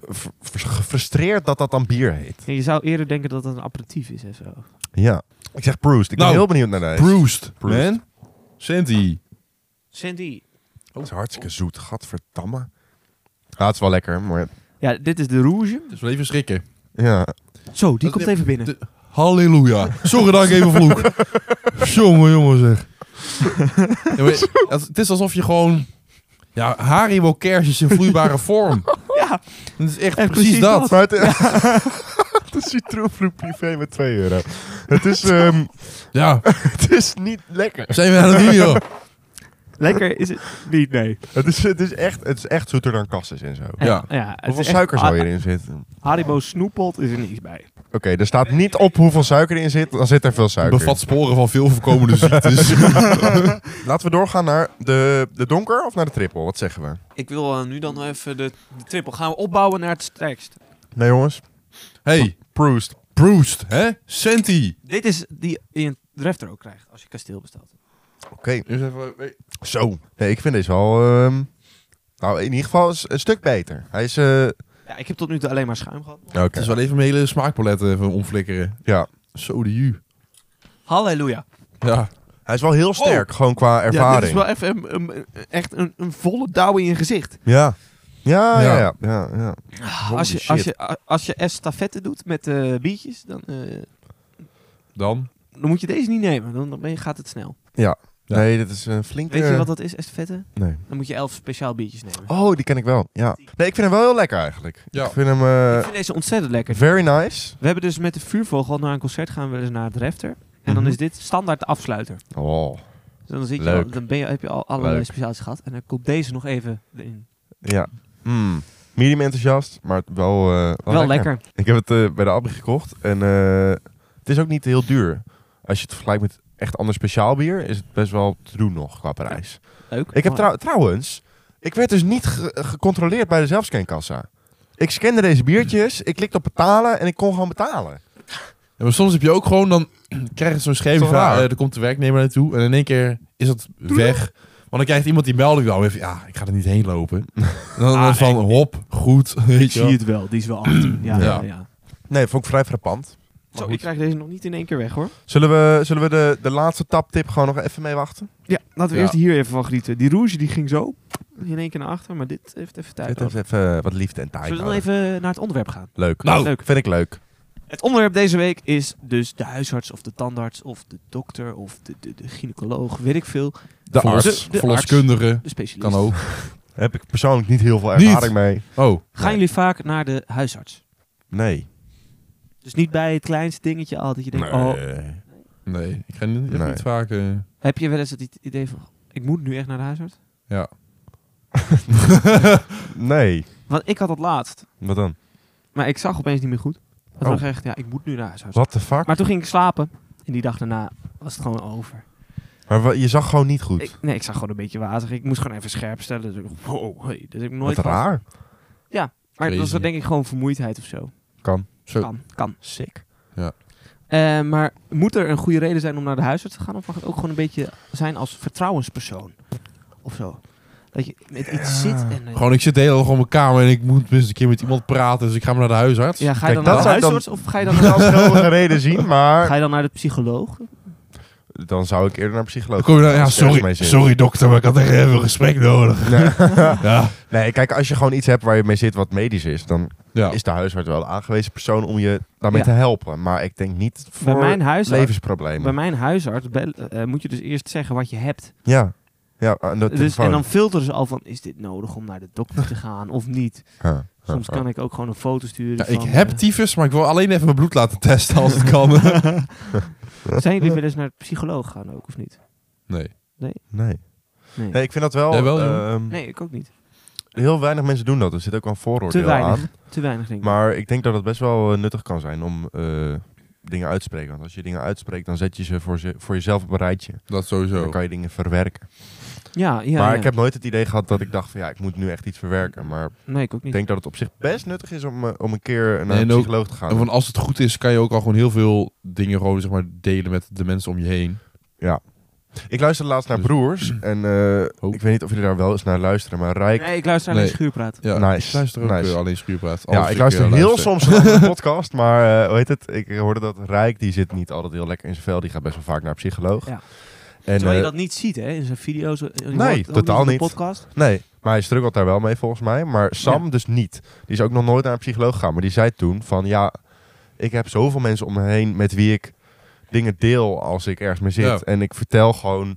Speaker 1: ver- vers- gefrustreerd dat dat dan bier heet.
Speaker 2: En je zou eerder denken dat dat een aperitief is en zo.
Speaker 1: Ja. Ik zeg Proust. Ik ben
Speaker 3: Nou,
Speaker 1: heel benieuwd naar deze.
Speaker 3: Bruised,
Speaker 1: Bruised.
Speaker 3: man. Sandy.
Speaker 2: Sandy.
Speaker 1: Dat is hartstikke zoet. Gadverdamme. Ja, het is wel lekker, maar...
Speaker 2: Ja, dit is de Rouge.
Speaker 3: Dus wel even schrikken.
Speaker 1: Ja.
Speaker 2: Zo, die
Speaker 3: Dat-
Speaker 2: komt even binnen.
Speaker 3: de- Halleluja. Sorry dat ik even vloek. jongen, jongen zeg. Ja, maar het, het is alsof je gewoon... Ja, Haribo kersjes in vloeibare vorm.
Speaker 2: Ja,
Speaker 3: Het is echt
Speaker 2: Echt
Speaker 3: precies,
Speaker 2: precies
Speaker 3: dat.
Speaker 2: dat.
Speaker 1: Maar het, het is citroenvloed privé met 2 euro. Het is, ehm,
Speaker 3: Ja,
Speaker 1: het is niet lekker.
Speaker 3: zijn we aan het doen, joh.
Speaker 2: lekker is het niet, nee.
Speaker 1: Het is, het is, echt, het is echt zoeter dan kassis en zo.
Speaker 3: Ja.
Speaker 2: ja het
Speaker 1: Hoeveel
Speaker 2: is echt-
Speaker 1: suiker zou
Speaker 2: Ha-
Speaker 1: hierin zitten?
Speaker 2: Haribo snoeppot is er niks bij.
Speaker 1: Oké, er staat niet op hoeveel suiker erin zit. Dan zit er veel suiker.
Speaker 3: Bevat sporen van veel voorkomende ziektes.
Speaker 1: Laten we doorgaan naar de, de donker of naar de triple. Wat zeggen we?
Speaker 2: Ik wil eh, nu dan even de, de triple. Gaan we opbouwen naar het sterkst.
Speaker 1: Nee jongens.
Speaker 3: hey,
Speaker 1: Proust.
Speaker 3: Proust, hè? Santi.
Speaker 2: Dit is die je een drafter ook krijgt als je kasteel bestelt.
Speaker 1: Oké. dus
Speaker 3: Eerst even... eh,
Speaker 1: Zo. Nee, ik vind deze wel... ehm, nou, in ieder geval is een stuk beter. Hij is... eh
Speaker 2: Ja, ik heb tot nu toe alleen maar schuim gehad.
Speaker 1: Oké.
Speaker 3: Het is wel even mijn hele smaakpalet even omflikkeren.
Speaker 1: Ja.
Speaker 3: Zo de ju.
Speaker 2: Halleluja.
Speaker 3: Ja.
Speaker 1: Hij is wel heel sterk, gewoon qua
Speaker 2: Ja, dit is
Speaker 1: ervaring.
Speaker 2: wel even een, een- echt een, een volle douw in je gezicht.
Speaker 1: Ja. Ja, ja,
Speaker 3: Ja.
Speaker 1: ja. ja, ja. Holy
Speaker 2: Als je,
Speaker 1: shit.
Speaker 2: als, je, a- als je estafette doet met eh, biertjes, dan, eh,
Speaker 3: Dan?
Speaker 2: dan moet je deze niet nemen. Dan, dan ben je- gaat het snel.
Speaker 3: Ja.
Speaker 1: Nee, dit is een flinke...
Speaker 2: Weet je wat dat is, estafette?
Speaker 1: Nee.
Speaker 2: Dan moet je elf speciaal biertjes nemen.
Speaker 1: Oh, die ken ik wel. Ja. Nee, ik vind hem wel heel lekker eigenlijk.
Speaker 3: Ja.
Speaker 1: Ik vind hem eh,
Speaker 2: Ik vind deze ontzettend lekker.
Speaker 1: very nice.
Speaker 2: We hebben dus met de vuurvogel naar een concert gaan we dus naar het refter. En dan
Speaker 1: Mhm.
Speaker 2: is dit standaard de afsluiter.
Speaker 1: Oh.
Speaker 2: Dus dan zit je
Speaker 1: Leuk.
Speaker 2: al- dan ben je, heb je al allerlei
Speaker 1: Leuk.
Speaker 2: speciaals gehad. En dan komt deze nog even in.
Speaker 1: Ja. Mm. Medium enthousiast, maar wel, eh,
Speaker 2: Wel lekker.
Speaker 1: Ik heb het eh, bij de Abri gekocht en eh, het is ook niet heel duur. Als je het vergelijkt met echt ander speciaal bier, is het best wel te doen nog qua prijs.
Speaker 2: Leuk.
Speaker 1: Ik heb
Speaker 2: Maar-
Speaker 1: trouw- trouwens, ik werd dus niet ge- gecontroleerd bij de zelfscankassa. Ik scande deze biertjes, ik klikte op betalen en ik kon gewoon betalen.
Speaker 3: Ja, maar soms heb je ook gewoon, dan krijg je zo'n scheve
Speaker 1: Toch
Speaker 3: vraag.
Speaker 1: raar?
Speaker 3: eh, er komt de werknemer naartoe en in één keer is dat weg. Want dan krijgt iemand die melding wel even, ja, ik ga er niet heen lopen. En dan
Speaker 2: Ah,
Speaker 3: van,
Speaker 2: ik-
Speaker 3: hop, goed, weet je wel.
Speaker 2: het wel. Die is wel 18. Ja,
Speaker 3: Ja.
Speaker 2: ja, ja.
Speaker 1: Nee, vond ik vrij frappant.
Speaker 2: Zo, ik krijg deze nog niet in één keer weg hoor.
Speaker 1: Zullen we, zullen we de, de laatste taptip gewoon nog even mee wachten?
Speaker 2: Ja, laten we
Speaker 3: Ja.
Speaker 2: eerst hier even van genieten. Die rouge die ging zo in één keer naar achter, maar dit heeft even tijd
Speaker 1: Dit
Speaker 2: nodig.
Speaker 1: heeft Ah, even eh, wat liefde en tijd
Speaker 2: Zullen we dan
Speaker 1: nodig.
Speaker 2: even naar het onderwerp gaan?
Speaker 1: Leuk.
Speaker 3: Nou.
Speaker 2: Leuk.
Speaker 1: Vind ik leuk.
Speaker 2: Het onderwerp deze week is dus de huisarts of de tandarts of de dokter of de, de, de gynaecoloog, weet ik veel.
Speaker 3: De
Speaker 2: Verlos-
Speaker 3: arts,
Speaker 2: de- de
Speaker 3: verloskundige,
Speaker 2: De specialist.
Speaker 3: kan ook.
Speaker 1: Heb ik persoonlijk niet heel veel
Speaker 3: Niet.
Speaker 1: ervaring mee.
Speaker 3: Oh,
Speaker 2: Gaan jullie vaak naar de huisarts?
Speaker 1: Nee.
Speaker 2: Dus niet bij het kleinste dingetje al dat je denkt, oh,
Speaker 3: nee, ik ga niet, echt
Speaker 1: Nee.
Speaker 3: niet vaak... eh,
Speaker 2: heb je wel eens het i- idee van, ik moet nu echt naar de huisarts?
Speaker 3: ja.
Speaker 1: Nee.
Speaker 2: Want ik had dat laatst,
Speaker 1: Wat dan?
Speaker 2: maar ik zag opeens niet meer goed. En toen
Speaker 1: Oh.
Speaker 2: dacht ik echt, ja, ik moet nu naar de huisarts.
Speaker 1: What the fuck?
Speaker 2: Maar toen ging ik slapen en die dag daarna was het gewoon over.
Speaker 1: Maar wa- je zag gewoon niet goed.
Speaker 2: Ik, nee, ik zag gewoon een beetje wazig. Ik moest gewoon even scherp stellen. Dus ik, wow, hey, dat heb ik nooit
Speaker 1: Wat
Speaker 2: gehad.
Speaker 1: raar.
Speaker 2: Maar dat was
Speaker 3: Crazy.
Speaker 2: denk ik gewoon vermoeidheid of zo.
Speaker 1: Kan.
Speaker 3: Zo.
Speaker 2: Kan, kan.
Speaker 1: Sick.
Speaker 2: Eh, maar moet er een goede reden zijn om naar de huisarts te gaan? Of mag het ook gewoon een beetje zijn als vertrouwenspersoon? Of zo. Dat je met iets zit en... eh,
Speaker 3: Gewoon, ik zit de hele dag op mijn kamer en ik moet minstens een keer met iemand praten, dus ik ga maar naar de huisarts.
Speaker 2: ja, ga je
Speaker 1: Kijk,
Speaker 2: dan
Speaker 1: dat
Speaker 2: naar
Speaker 1: zou ik
Speaker 2: de
Speaker 1: dan-
Speaker 2: huisarts of ga je dan
Speaker 1: Dat
Speaker 2: naar,
Speaker 1: zou geweldige reden zien,
Speaker 2: ga
Speaker 1: maar
Speaker 2: je dan naar de psycholoog?
Speaker 1: dan zou ik eerder naar een
Speaker 3: Dan
Speaker 1: psycholoog.
Speaker 3: kom je daar, ja,
Speaker 1: Als ik ergens
Speaker 3: sorry,
Speaker 1: mee zit.
Speaker 3: sorry dokter, maar ik had echt even een gesprek nodig.
Speaker 1: Nee.
Speaker 3: Ja,
Speaker 1: nee, kijk, als je gewoon iets hebt waar je mee zit wat medisch is, dan
Speaker 3: ja.
Speaker 1: is de huisarts wel de aangewezen persoon om je daarmee
Speaker 2: Ja.
Speaker 1: te helpen. Maar ik denk niet
Speaker 2: Bij
Speaker 1: voor
Speaker 2: mijn huisarts,
Speaker 1: levensproblemen.
Speaker 2: bij mijn huisarts bel- eh, moet je dus eerst zeggen wat je hebt.
Speaker 1: Ja. Ja, aan de
Speaker 2: Dus,
Speaker 1: telefoon.
Speaker 2: en dan filteren ze al van, is dit nodig om naar de dokter te gaan of niet?
Speaker 1: Ja, ja,
Speaker 2: Soms
Speaker 1: ja.
Speaker 2: kan ik ook gewoon een foto sturen.
Speaker 3: Ja, ik
Speaker 2: van,
Speaker 3: heb
Speaker 2: eh,
Speaker 3: tyfus, maar ik wil alleen even mijn bloed laten testen als het kan.
Speaker 2: Zijn jullie wel eens naar de psycholoog gaan ook, of niet?
Speaker 3: nee.
Speaker 1: Nee.
Speaker 2: Nee,
Speaker 1: nee, ik vind dat wel...
Speaker 3: Jij wel, jongen?
Speaker 1: ehm,
Speaker 2: Nee, ik ook niet.
Speaker 1: Heel weinig mensen doen dat. Er zit ook wel een vooroordeel
Speaker 2: Te weinig.
Speaker 1: aan.
Speaker 2: Te weinig, denk ik.
Speaker 1: Maar ik denk dat het best wel eh, nuttig kan zijn om eh, dingen uitspreken. Want als je dingen uitspreekt, dan zet je ze voor, ze, voor jezelf op een rijtje.
Speaker 3: Dat
Speaker 1: En
Speaker 3: sowieso.
Speaker 1: Dan kan je dingen verwerken.
Speaker 2: Ja, ja.
Speaker 1: maar
Speaker 2: ja.
Speaker 1: ik heb nooit het idee gehad dat ik dacht van ja, ik moet nu echt iets verwerken. Maar
Speaker 2: Nee, ik ook
Speaker 1: ik
Speaker 2: niet.
Speaker 1: denk dat het op zich best nuttig is om, eh, om een keer naar
Speaker 3: Nee,
Speaker 1: een
Speaker 3: en ook-
Speaker 1: psycholoog te gaan.
Speaker 3: En van als het goed is, kan je ook al gewoon heel veel dingen gewoon zeg maar delen met de mensen om je heen.
Speaker 1: Ik luisterde laatst naar
Speaker 3: Dus-
Speaker 1: Broers. En eh,
Speaker 3: Oh.
Speaker 1: ik weet niet of jullie daar wel eens naar luisteren. Maar Rijk...
Speaker 2: Nee, ik luister naar
Speaker 3: Nee.
Speaker 2: schuurpraat.
Speaker 3: Ja,
Speaker 1: Nice,
Speaker 3: ik luister ook
Speaker 1: nice.
Speaker 3: eh, alleen schuurpraat.
Speaker 1: ja,
Speaker 3: Alles
Speaker 1: ik
Speaker 3: wil
Speaker 1: luister
Speaker 3: eh,
Speaker 1: heel
Speaker 3: luisteren.
Speaker 1: soms naar een podcast. Maar eh, hoe heet het? Ik hoorde dat Rijk, die zit niet altijd heel lekker in zijn vel. Die gaat best wel vaak naar een psycholoog.
Speaker 2: Ja.
Speaker 1: En,
Speaker 2: Terwijl je
Speaker 1: eh,
Speaker 2: dat niet ziet, hè, in zijn video's. eh, je
Speaker 1: Nee,
Speaker 2: hoort ook
Speaker 1: totaal
Speaker 2: in de
Speaker 1: niet.
Speaker 2: podcast.
Speaker 1: Nee, maar hij struggelt daar wel mee volgens mij. Maar Sam dus niet. Die is ook nog nooit naar een psycholoog gegaan. Maar die zei toen van ja, ik heb zoveel mensen om me heen met wie ik dingen deel als ik ergens mee zit.
Speaker 3: Ja.
Speaker 1: En ik vertel gewoon.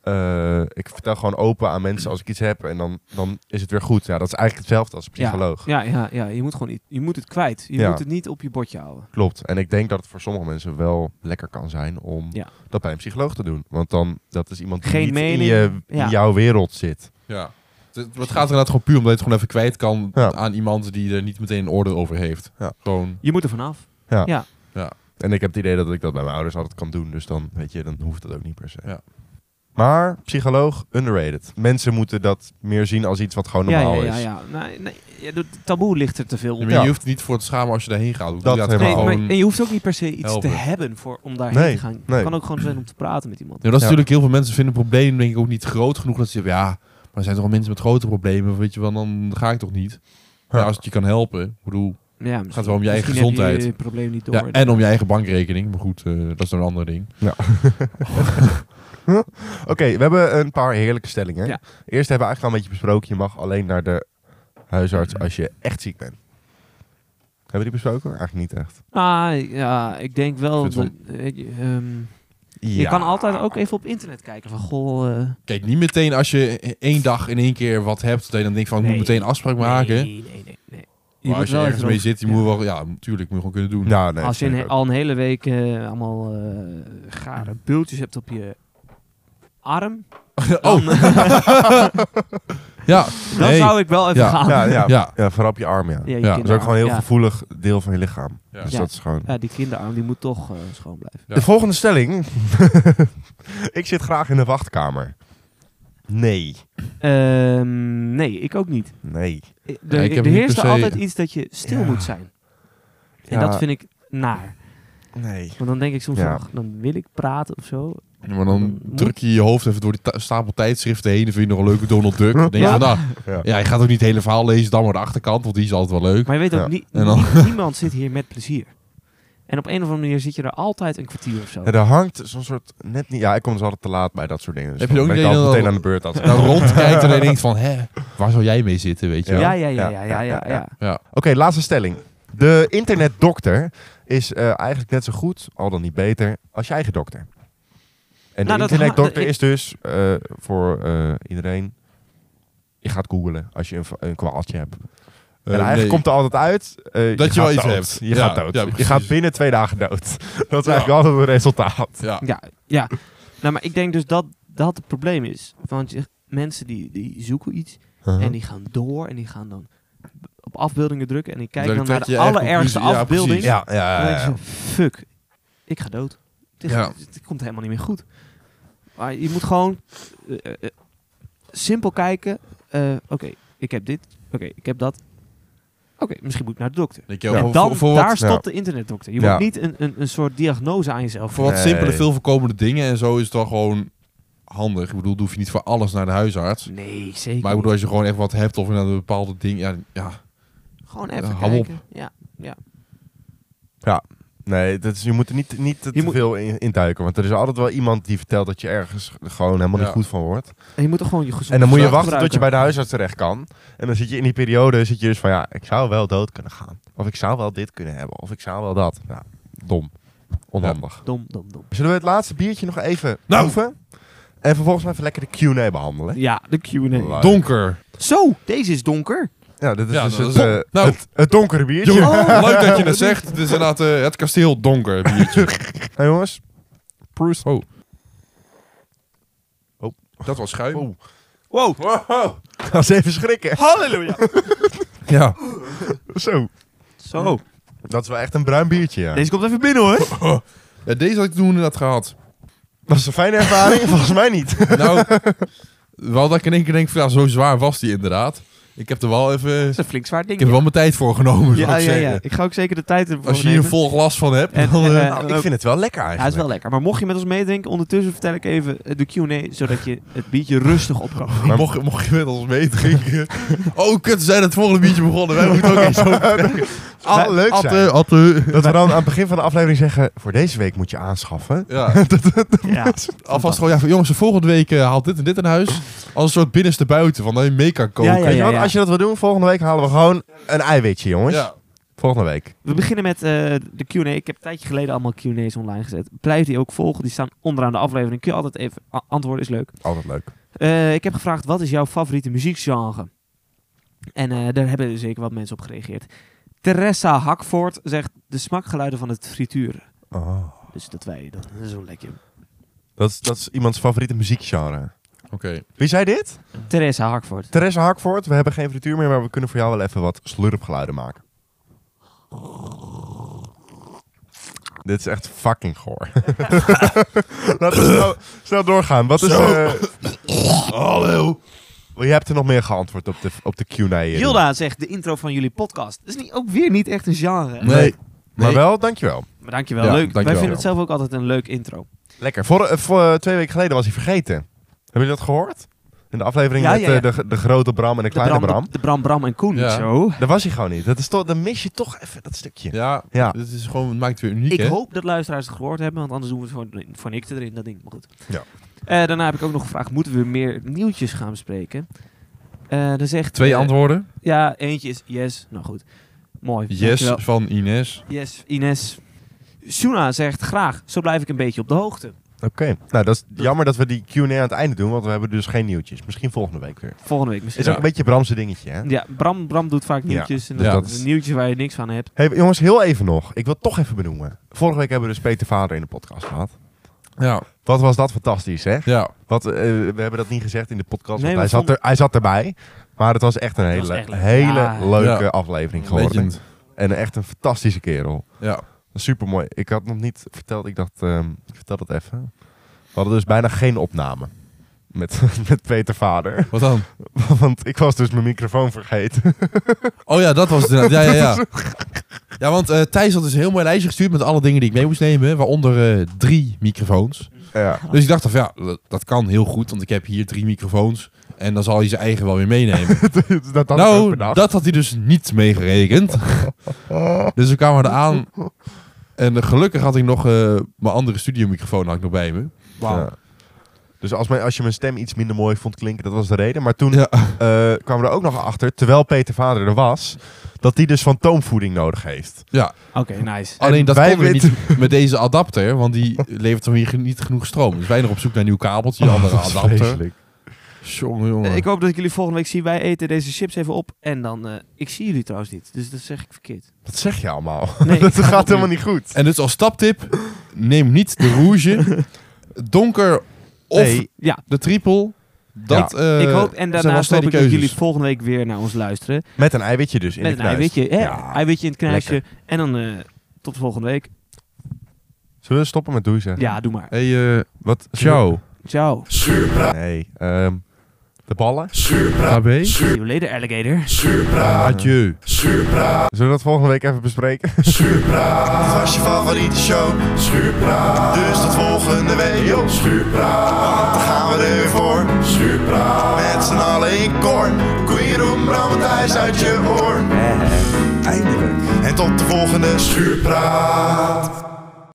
Speaker 1: eh, ik vertel gewoon open aan mensen als ik iets heb en dan, dan is het weer goed. Ja, dat is eigenlijk hetzelfde als een psycholoog.
Speaker 2: Ja, ja, ja, je moet gewoon i- je moet het kwijt. Je
Speaker 1: Ja.
Speaker 2: moet het niet op je bordje houden.
Speaker 1: Klopt. En ik denk dat het voor sommige mensen wel lekker kan zijn om
Speaker 2: Ja.
Speaker 1: dat bij een psycholoog te doen. Want dan dat is iemand die
Speaker 2: Geen
Speaker 1: niet in,
Speaker 2: mening.
Speaker 1: je, in
Speaker 2: Ja.
Speaker 1: jouw wereld zit.
Speaker 3: Ja. Het, het gaat er inderdaad gewoon puur omdat je het gewoon even kwijt kan
Speaker 1: Ja.
Speaker 3: aan iemand die er niet meteen een oordeel over heeft.
Speaker 1: Ja.
Speaker 3: Gewoon,
Speaker 2: Je moet er vanaf.
Speaker 1: En ik heb het idee dat ik dat bij mijn ouders altijd kan doen. Dus dan, weet je, dan hoeft dat ook niet per se.
Speaker 3: Ja.
Speaker 1: Maar psycholoog, underrated. Mensen moeten dat meer zien als iets wat gewoon
Speaker 2: Ja,
Speaker 1: normaal
Speaker 2: ja, ja.
Speaker 1: is.
Speaker 2: ja. Nee, nee, ja, de taboe ligt er te veel
Speaker 3: Ja,
Speaker 2: onder.
Speaker 3: maar je hoeft er niet voor te schamen als je daarheen
Speaker 1: Dat
Speaker 3: gaat. ja,
Speaker 1: helemaal.
Speaker 2: Nee,
Speaker 1: Gewoon
Speaker 2: maar, en je hoeft ook niet per se iets
Speaker 3: helpen.
Speaker 2: te hebben voor, om daarheen
Speaker 1: Nee,
Speaker 2: te gaan. Het
Speaker 1: nee.
Speaker 2: kan ook gewoon zijn om te praten met iemand.
Speaker 3: Ja, dat is
Speaker 1: Ja.
Speaker 3: natuurlijk heel veel mensen vinden problemen denk ik ook niet groot genoeg dat ze zeggen, ja, maar er zijn toch wel mensen met grote problemen, weet je wel, dan ga ik toch niet. Maar
Speaker 1: Ja.
Speaker 3: als het je kan helpen, ik bedoel,
Speaker 2: Ja, het
Speaker 3: gaat wel om je eigen gezondheid.
Speaker 2: je probleem niet door.
Speaker 3: ja, en om je eigen bankrekening, maar goed, eh, dat is dan een ander ding.
Speaker 1: Oké, we hebben een paar heerlijke stellingen.
Speaker 2: Ja.
Speaker 1: Eerst hebben we eigenlijk al een beetje besproken. Je mag alleen naar de huisarts als je echt ziek bent. Hebben we die besproken? Eigenlijk niet echt.
Speaker 2: Ah, ja, ik denk wel...
Speaker 3: Ik vind
Speaker 2: dat- eh, je, ehm, Je
Speaker 1: Ja.
Speaker 2: kan altijd ook even op internet kijken van, goh... eh,
Speaker 3: Kijk, niet meteen als je één dag in één keer wat hebt, dat je dan denkt van, ik
Speaker 2: Nee.
Speaker 3: moet meteen een afspraak maken.
Speaker 2: Nee, nee, nee. nee.
Speaker 3: Maar als je ergens mee zit, die
Speaker 2: ja.
Speaker 3: moet je wel, ja, natuurlijk moet je gewoon kunnen doen.
Speaker 1: Nou, nee,
Speaker 2: Als je een he-
Speaker 1: zeker ook.
Speaker 2: al een hele week eh, allemaal eh gare bultjes hebt op je arm... Dan, eh,
Speaker 3: Ja,
Speaker 2: dan
Speaker 3: nee.
Speaker 2: zou ik wel even
Speaker 3: Ja.
Speaker 2: gaan.
Speaker 1: ja, ja, ja.
Speaker 3: Ja.
Speaker 1: vooral op je arm, ja.
Speaker 2: je
Speaker 3: Ja.
Speaker 1: Dat is ook
Speaker 2: kinderarm.
Speaker 1: gewoon een heel
Speaker 2: ja.
Speaker 1: gevoelig deel van je lichaam.
Speaker 3: Ja.
Speaker 1: Dus
Speaker 2: Ja.
Speaker 1: dat is gewoon...
Speaker 2: Ja, die kinderarm die moet toch eh, schoon blijven.
Speaker 3: Ja.
Speaker 1: De volgende stelling. ik zit graag in de wachtkamer. Nee.
Speaker 2: Ehm, nee, ik ook niet.
Speaker 1: Nee.
Speaker 2: De,
Speaker 3: Ja, ik heb
Speaker 2: de
Speaker 3: niet
Speaker 2: heerst
Speaker 3: per
Speaker 2: er
Speaker 3: se-
Speaker 2: altijd iets dat je stil
Speaker 1: Ja.
Speaker 2: moet zijn.
Speaker 1: Ja.
Speaker 2: En dat vind ik naar.
Speaker 1: Nee.
Speaker 2: Want dan denk ik soms,
Speaker 1: Ja.
Speaker 2: van, ach, dan wil ik praten of zo.
Speaker 3: Ja, maar
Speaker 2: Dan
Speaker 3: dan
Speaker 2: moet-
Speaker 3: druk je je hoofd even door die ta- stapel tijdschriften heen. Dan vind je nog een leuke Donald Duck. Dan denk je
Speaker 2: Ja.
Speaker 3: van, nou,
Speaker 1: Ja.
Speaker 3: ja, je gaat ook niet het hele verhaal lezen, dan maar de achterkant, want die is altijd wel leuk.
Speaker 2: Maar je weet ook,
Speaker 1: Ja.
Speaker 2: niet,
Speaker 3: En dan-
Speaker 2: nie- niemand zit hier met plezier. En op een of andere manier zit je er altijd een kwartier of zo.
Speaker 1: Ja, er hangt zo'n soort net niet. Ja, ik kom dus altijd te laat bij dat soort dingen. Dus
Speaker 3: Heb je
Speaker 1: dan
Speaker 3: ook
Speaker 1: ben
Speaker 3: niet
Speaker 1: ik altijd
Speaker 3: dat-
Speaker 1: meteen aan de beurt? Als...
Speaker 3: Dan Nou. rondkijkt en dan denkt van, hè, waar zou jij mee zitten, weet je
Speaker 2: Ja,
Speaker 3: wel?
Speaker 2: ja,
Speaker 1: Ja.
Speaker 2: ja,
Speaker 1: Ja,
Speaker 2: ja, ja, ja.
Speaker 1: ja,
Speaker 2: ja,
Speaker 1: ja. Oké, laatste stelling. De internetdokter is eh, eigenlijk net zo goed, al dan niet beter, als je eigen dokter. En
Speaker 2: Nou,
Speaker 1: de
Speaker 2: dat
Speaker 1: internetdokter
Speaker 2: ha-
Speaker 1: is dus eh, voor eh, iedereen. Je gaat googlen als je een, v- een kwaaltje hebt.
Speaker 3: Eh,
Speaker 1: en eigenlijk
Speaker 3: nee.
Speaker 1: komt er altijd uit eh,
Speaker 3: Dat je
Speaker 1: gaat
Speaker 3: wel iets
Speaker 1: dood.
Speaker 3: hebt.
Speaker 1: Je
Speaker 3: Ja,
Speaker 1: gaat dood.
Speaker 3: ja,
Speaker 1: je
Speaker 3: precies.
Speaker 1: gaat binnen twee dagen dood. Dat is
Speaker 3: Ja.
Speaker 1: eigenlijk altijd het resultaat.
Speaker 3: Ja.
Speaker 2: Ja, ja. Nou, maar ik denk dus dat dat het probleem is. Want je, mensen die, die zoeken iets
Speaker 3: Uh-huh.
Speaker 2: en die gaan door en die gaan dan op afbeeldingen drukken. En ik kijk
Speaker 3: Dan
Speaker 2: dan, naar
Speaker 3: trek
Speaker 2: de
Speaker 3: je eigen
Speaker 2: allerergste
Speaker 3: conclusie. Ja,
Speaker 2: afbeelding.
Speaker 3: precies.
Speaker 1: ja, ja, ja,
Speaker 2: Dan denk
Speaker 1: ja.
Speaker 2: je zo, fuck, ik ga dood. Het,
Speaker 3: Ja.
Speaker 2: het komt helemaal niet meer goed. Maar je moet gewoon eh, eh, eh, simpel kijken. eh, Oké, ik heb dit. Oké, ik heb dat. Oké, misschien moet ik naar de dokter.
Speaker 3: Denk je,
Speaker 1: Ja,
Speaker 3: voor,
Speaker 2: en dan,
Speaker 3: voor, voor
Speaker 2: daar
Speaker 3: wat,
Speaker 1: ja.
Speaker 2: stopt de internetdokter. Je
Speaker 1: Ja.
Speaker 2: moet niet een, een, een soort diagnose aan jezelf.
Speaker 3: voor wat
Speaker 1: Nee.
Speaker 3: simpele, veel voorkomende dingen en zo is het wel gewoon handig. Ik bedoel, dan hoef je niet voor alles naar de huisarts.
Speaker 2: Nee, zeker
Speaker 3: Maar ik bedoel,
Speaker 2: niet.
Speaker 3: als je gewoon echt wat hebt of naar een bepaalde ding, ja, ja.
Speaker 2: Gewoon even
Speaker 3: Ja, hou op.
Speaker 2: kijken. Ja.
Speaker 1: Nee, dat is, je moet er niet, niet te
Speaker 2: Je moet-
Speaker 1: veel in, in duiken. Want er is altijd wel iemand die vertelt dat je ergens gewoon helemaal
Speaker 3: Ja.
Speaker 1: niet goed van wordt.
Speaker 2: En je moet er gewoon je gezondheid
Speaker 1: En dan moet je
Speaker 2: voor
Speaker 1: wachten tot je bij de
Speaker 2: gebruiken.
Speaker 1: huisarts terecht kan. En dan zit je in die periode zit je dus van ja, ik zou wel dood kunnen gaan. Of ik zou wel dit kunnen hebben. Of ik zou wel dat. Ja, dom. Onhandig.
Speaker 2: Dom, dom, dom.
Speaker 1: Zullen we het laatste biertje nog even
Speaker 3: Nou.
Speaker 1: proeven? En vervolgens even lekker de Q&A behandelen.
Speaker 2: Ja, de Q&A.
Speaker 1: Leuk.
Speaker 3: Donker.
Speaker 2: Zo, deze is donker.
Speaker 1: Ja, dit is
Speaker 3: Ja,
Speaker 1: dus
Speaker 3: dat
Speaker 1: het,
Speaker 3: is-
Speaker 1: eh,
Speaker 3: Nou.
Speaker 1: het, het donkere biertje.
Speaker 3: Jeroen,
Speaker 2: Oh.
Speaker 3: leuk dat je dat zegt. Het is inderdaad eh, het kasteel donker biertje.
Speaker 1: Nou jongens. Proost.
Speaker 3: Oh.
Speaker 1: Oh.
Speaker 3: Dat was schuim.
Speaker 1: Oh.
Speaker 2: Wow.
Speaker 1: Dat was even schrikken.
Speaker 2: Halleluja.
Speaker 3: Ja.
Speaker 1: Zo.
Speaker 2: Zo.
Speaker 1: Dat is wel echt een bruin biertje, ja.
Speaker 2: Deze komt even binnen hoor.
Speaker 3: Ja, deze had ik toen inderdaad gehad.
Speaker 1: Was een fijne ervaring? Volgens mij niet.
Speaker 3: Nou, wel dat ik in één keer denk van, ja, zo zwaar was die inderdaad. Ik heb er wel even...
Speaker 2: Dat is een flink zwaar ding.
Speaker 3: Ik heb er wel mijn tijd voor genomen, zou
Speaker 2: ja,
Speaker 3: ik
Speaker 2: ja, ja.
Speaker 3: zeggen.
Speaker 2: Ik ga ook zeker de tijd ervoor
Speaker 3: Als je hier
Speaker 2: nemen.
Speaker 3: een vol glas van hebt,
Speaker 2: En,
Speaker 3: dan...
Speaker 2: en,
Speaker 3: eh,
Speaker 2: eh,
Speaker 1: Nou, ik vind het wel lekker eigenlijk.
Speaker 2: Ja, is wel lekker. Maar mocht je met ons meedrinken, ondertussen vertel ik even eh, de Q&A, zodat je het biertje rustig op kan.
Speaker 1: maar-
Speaker 3: mocht, mocht je met ons meedrinken... oh, kut, we zijn het volgende biertje begonnen. Wij moeten ook eens zo...
Speaker 1: Ah, leuk zijn.
Speaker 3: Atte, atte.
Speaker 1: Dat we dan aan het begin van de aflevering zeggen... voor deze week moet je aanschaffen.
Speaker 3: Ja,
Speaker 2: Ja,
Speaker 3: alvast gewoon, ja, van, jongens, de volgende week eh, haalt dit en dit in huis. Als een soort binnenste buiten, van dat je mee kan koken.
Speaker 2: Ja,
Speaker 1: Weet je
Speaker 2: ja,
Speaker 1: wat?
Speaker 2: ja.
Speaker 1: Als je dat wil doen, volgende week halen we gewoon een eiwitje, jongens.
Speaker 3: Ja.
Speaker 1: Volgende week.
Speaker 2: We beginnen met eh, de Q&A. Ik heb een tijdje geleden allemaal Q&A's online gezet. Blijf die ook volgen. Die staan onderaan de aflevering. Kun je altijd even a- antwoorden, is leuk.
Speaker 1: Altijd leuk.
Speaker 2: Eh, ik heb gevraagd, wat is jouw favoriete muziekgenre? En eh, daar hebben zeker wat mensen op gereageerd. Teresa Hakvoort zegt de smakgeluiden van het frituur.
Speaker 1: Oh.
Speaker 2: Dus dat wij dat zo lekker.
Speaker 1: Dat, is, dat is iemands favoriete muziekgenre.
Speaker 3: Oké.
Speaker 1: Wie zei dit?
Speaker 2: Teresa Hakvoort.
Speaker 1: Therese Hakvoort. We hebben geen frituur meer, maar we kunnen voor jou wel even wat slurpgeluiden maken. Dit is echt fucking goor. Laten we snel, snel doorgaan. Wat is... eh,
Speaker 3: Hallo.
Speaker 1: je hebt er nog meer geantwoord op de, op de Q&A. eh,
Speaker 2: Hilda zegt de intro van jullie podcast. Dat is niet, ook weer niet echt een genre.
Speaker 3: Nee.
Speaker 1: Maar
Speaker 3: Nee.
Speaker 1: wel, dankjewel.
Speaker 2: Maar dankjewel,
Speaker 3: Ja,
Speaker 2: leuk.
Speaker 3: dankjewel.
Speaker 2: Wij vinden het zelf ook altijd een leuk intro.
Speaker 1: Lekker. Voor, eh, voor, eh, twee weken geleden was hij vergeten. Hebben jullie dat gehoord? In de aflevering
Speaker 2: Ja,
Speaker 1: met
Speaker 2: ja, ja.
Speaker 1: eh, de, de grote Bram en de
Speaker 2: De
Speaker 1: kleine
Speaker 2: Bram,
Speaker 1: Bram.
Speaker 2: De, de Bram, Bram en Koen.
Speaker 3: Ja.
Speaker 2: Zo.
Speaker 1: Daar was hij gewoon niet. Dat is toch, dan mis je toch even dat stukje.
Speaker 3: Ja,
Speaker 1: Ja.
Speaker 3: dit is gewoon, het maakt het weer uniek,
Speaker 2: Ik
Speaker 3: hè?
Speaker 2: hoop dat luisteraars het gehoord hebben, want anders doen we het gewoon van ik erin, dat ding. Maar goed.
Speaker 1: Ja.
Speaker 2: Eh, daarna heb ik ook nog gevraagd, moeten we meer nieuwtjes gaan bespreken? Eh dan zegt,
Speaker 3: Twee
Speaker 2: eh,
Speaker 3: antwoorden.
Speaker 2: Ja, eentje is yes. Nou goed. Mooi.
Speaker 3: Yes
Speaker 2: dankjewel.
Speaker 3: van Ines.
Speaker 2: Yes, Ines. Suna zegt graag, zo blijf ik een beetje op de hoogte.
Speaker 1: Oké. Nou, dat is
Speaker 2: Dus-
Speaker 1: jammer dat we die Q&A aan het einde doen, want we hebben dus geen nieuwtjes. Misschien volgende week weer.
Speaker 2: Volgende week misschien.
Speaker 1: Is ook een beetje Bramse dingetje, hè?
Speaker 2: Ja, Bram, Bram doet vaak nieuwtjes. En
Speaker 3: dus
Speaker 2: dat
Speaker 3: dat
Speaker 2: is
Speaker 1: is-
Speaker 2: een nieuwtje waar je niks van hebt.
Speaker 1: Hey, jongens, heel even nog. Ik wil het toch even benoemen. Vorige week hebben we dus Peter Vader in de podcast gehad.
Speaker 3: Ja,
Speaker 1: Wat was dat fantastisch, hè?
Speaker 3: ja.
Speaker 1: Wat, eh, we hebben dat niet gezegd in de podcast, want
Speaker 2: Nee, we
Speaker 1: hij, zat
Speaker 2: vonden-
Speaker 1: er, hij zat erbij. Maar het was echt een
Speaker 2: was
Speaker 1: hele,
Speaker 2: echt leuk.
Speaker 1: hele
Speaker 2: Ja.
Speaker 1: leuke
Speaker 3: Ja.
Speaker 1: aflevering geworden.
Speaker 3: Legend.
Speaker 1: En echt een fantastische kerel.
Speaker 3: Ja.
Speaker 1: Super mooi. Ik had nog niet verteld, ik dacht, ehm, ik vertel dat even. We hadden dus bijna geen opname met, met Peter Vader.
Speaker 3: Wat dan?
Speaker 1: Want ik was dus mijn microfoon vergeten.
Speaker 3: Oh ja, dat was het inderdaad. Ja, ja, ja. Ja, want eh, Thijs had dus een heel mooi lijstje gestuurd met alle dingen die ik mee moest nemen. Waaronder eh, drie microfoons.
Speaker 1: ja.
Speaker 3: Dus ik dacht dan van, ja, dat- dat kan heel goed, want ik heb hier drie microfoons. En dan zal hij zijn eigen wel weer meenemen.
Speaker 1: Dus dat had ik ook
Speaker 3: nou,
Speaker 1: bedacht.
Speaker 3: dat had hij dus niet meegerekend. dus we kwamen eraan. En eh, gelukkig had ik nog eh, mijn andere studiomicrofoon had ik nog bij me.
Speaker 1: Ja. Dus als, mijn, als je mijn stem iets minder mooi vond klinken, dat was de reden. Maar toen
Speaker 3: Ja.
Speaker 1: eh, kwamen we er ook nog achter, terwijl Peter Vader er was, dat hij dus fantoomvoeding nodig heeft.
Speaker 2: Oké, nice.
Speaker 1: En
Speaker 3: Alleen dat
Speaker 1: wij
Speaker 3: kon weer
Speaker 1: weten-
Speaker 3: niet met deze adapter, want die levert hem hier ge- niet genoeg stroom. Dus wij nog op zoek naar een nieuw kabeltje, andere
Speaker 1: Oh, dat is
Speaker 3: adapter.
Speaker 1: vreselijk.
Speaker 3: Jongen, jongen.
Speaker 2: Eh, Ik hoop dat ik jullie volgende week zie. Wij eten deze chips even op. En dan, eh, ik zie jullie trouwens niet. Dus dat zeg ik verkeerd.
Speaker 1: Wat zeg je allemaal?
Speaker 2: Nee, ik
Speaker 1: dat
Speaker 2: ga
Speaker 1: gaat
Speaker 2: opnieuw.
Speaker 1: helemaal niet goed.
Speaker 3: En dus als staptip, neem niet de rouge, donker of
Speaker 1: Nee.
Speaker 2: Ja,
Speaker 3: de triple. Dat, eh,
Speaker 2: ik hoop en
Speaker 3: zijn
Speaker 2: daarna
Speaker 3: wel
Speaker 2: hoop
Speaker 3: snelle
Speaker 2: ik dat jullie
Speaker 3: keuzes.
Speaker 2: volgende week weer naar ons luisteren.
Speaker 1: Met een eiwitje dus in
Speaker 2: met
Speaker 1: de
Speaker 2: een
Speaker 1: knuis.
Speaker 2: eiwitje. Hè?
Speaker 1: Ja.
Speaker 2: Eiwitje in het knuisje. En dan eh, tot volgende week.
Speaker 1: Zullen we stoppen met doei zeggen?
Speaker 2: Ja, doe maar.
Speaker 3: Hey, eh,
Speaker 1: Wat?
Speaker 3: ciao.
Speaker 2: Ciao.
Speaker 1: Nee. ehm, de ballen?
Speaker 3: AB.
Speaker 2: See you later, alligator.
Speaker 3: Adieu.
Speaker 1: Zullen we dat volgende week even bespreken?
Speaker 4: Wat was je favoriete show? Schuurpraat. Dus tot volgende week. Yo. Schuurpraat. Want dan gaan we er weer voor. Schuurpraat. Met z'n allen in koor. Koeien roem, Bram en Thijs uit je oor. Eindelijk. En tot de volgende Schuurpraat.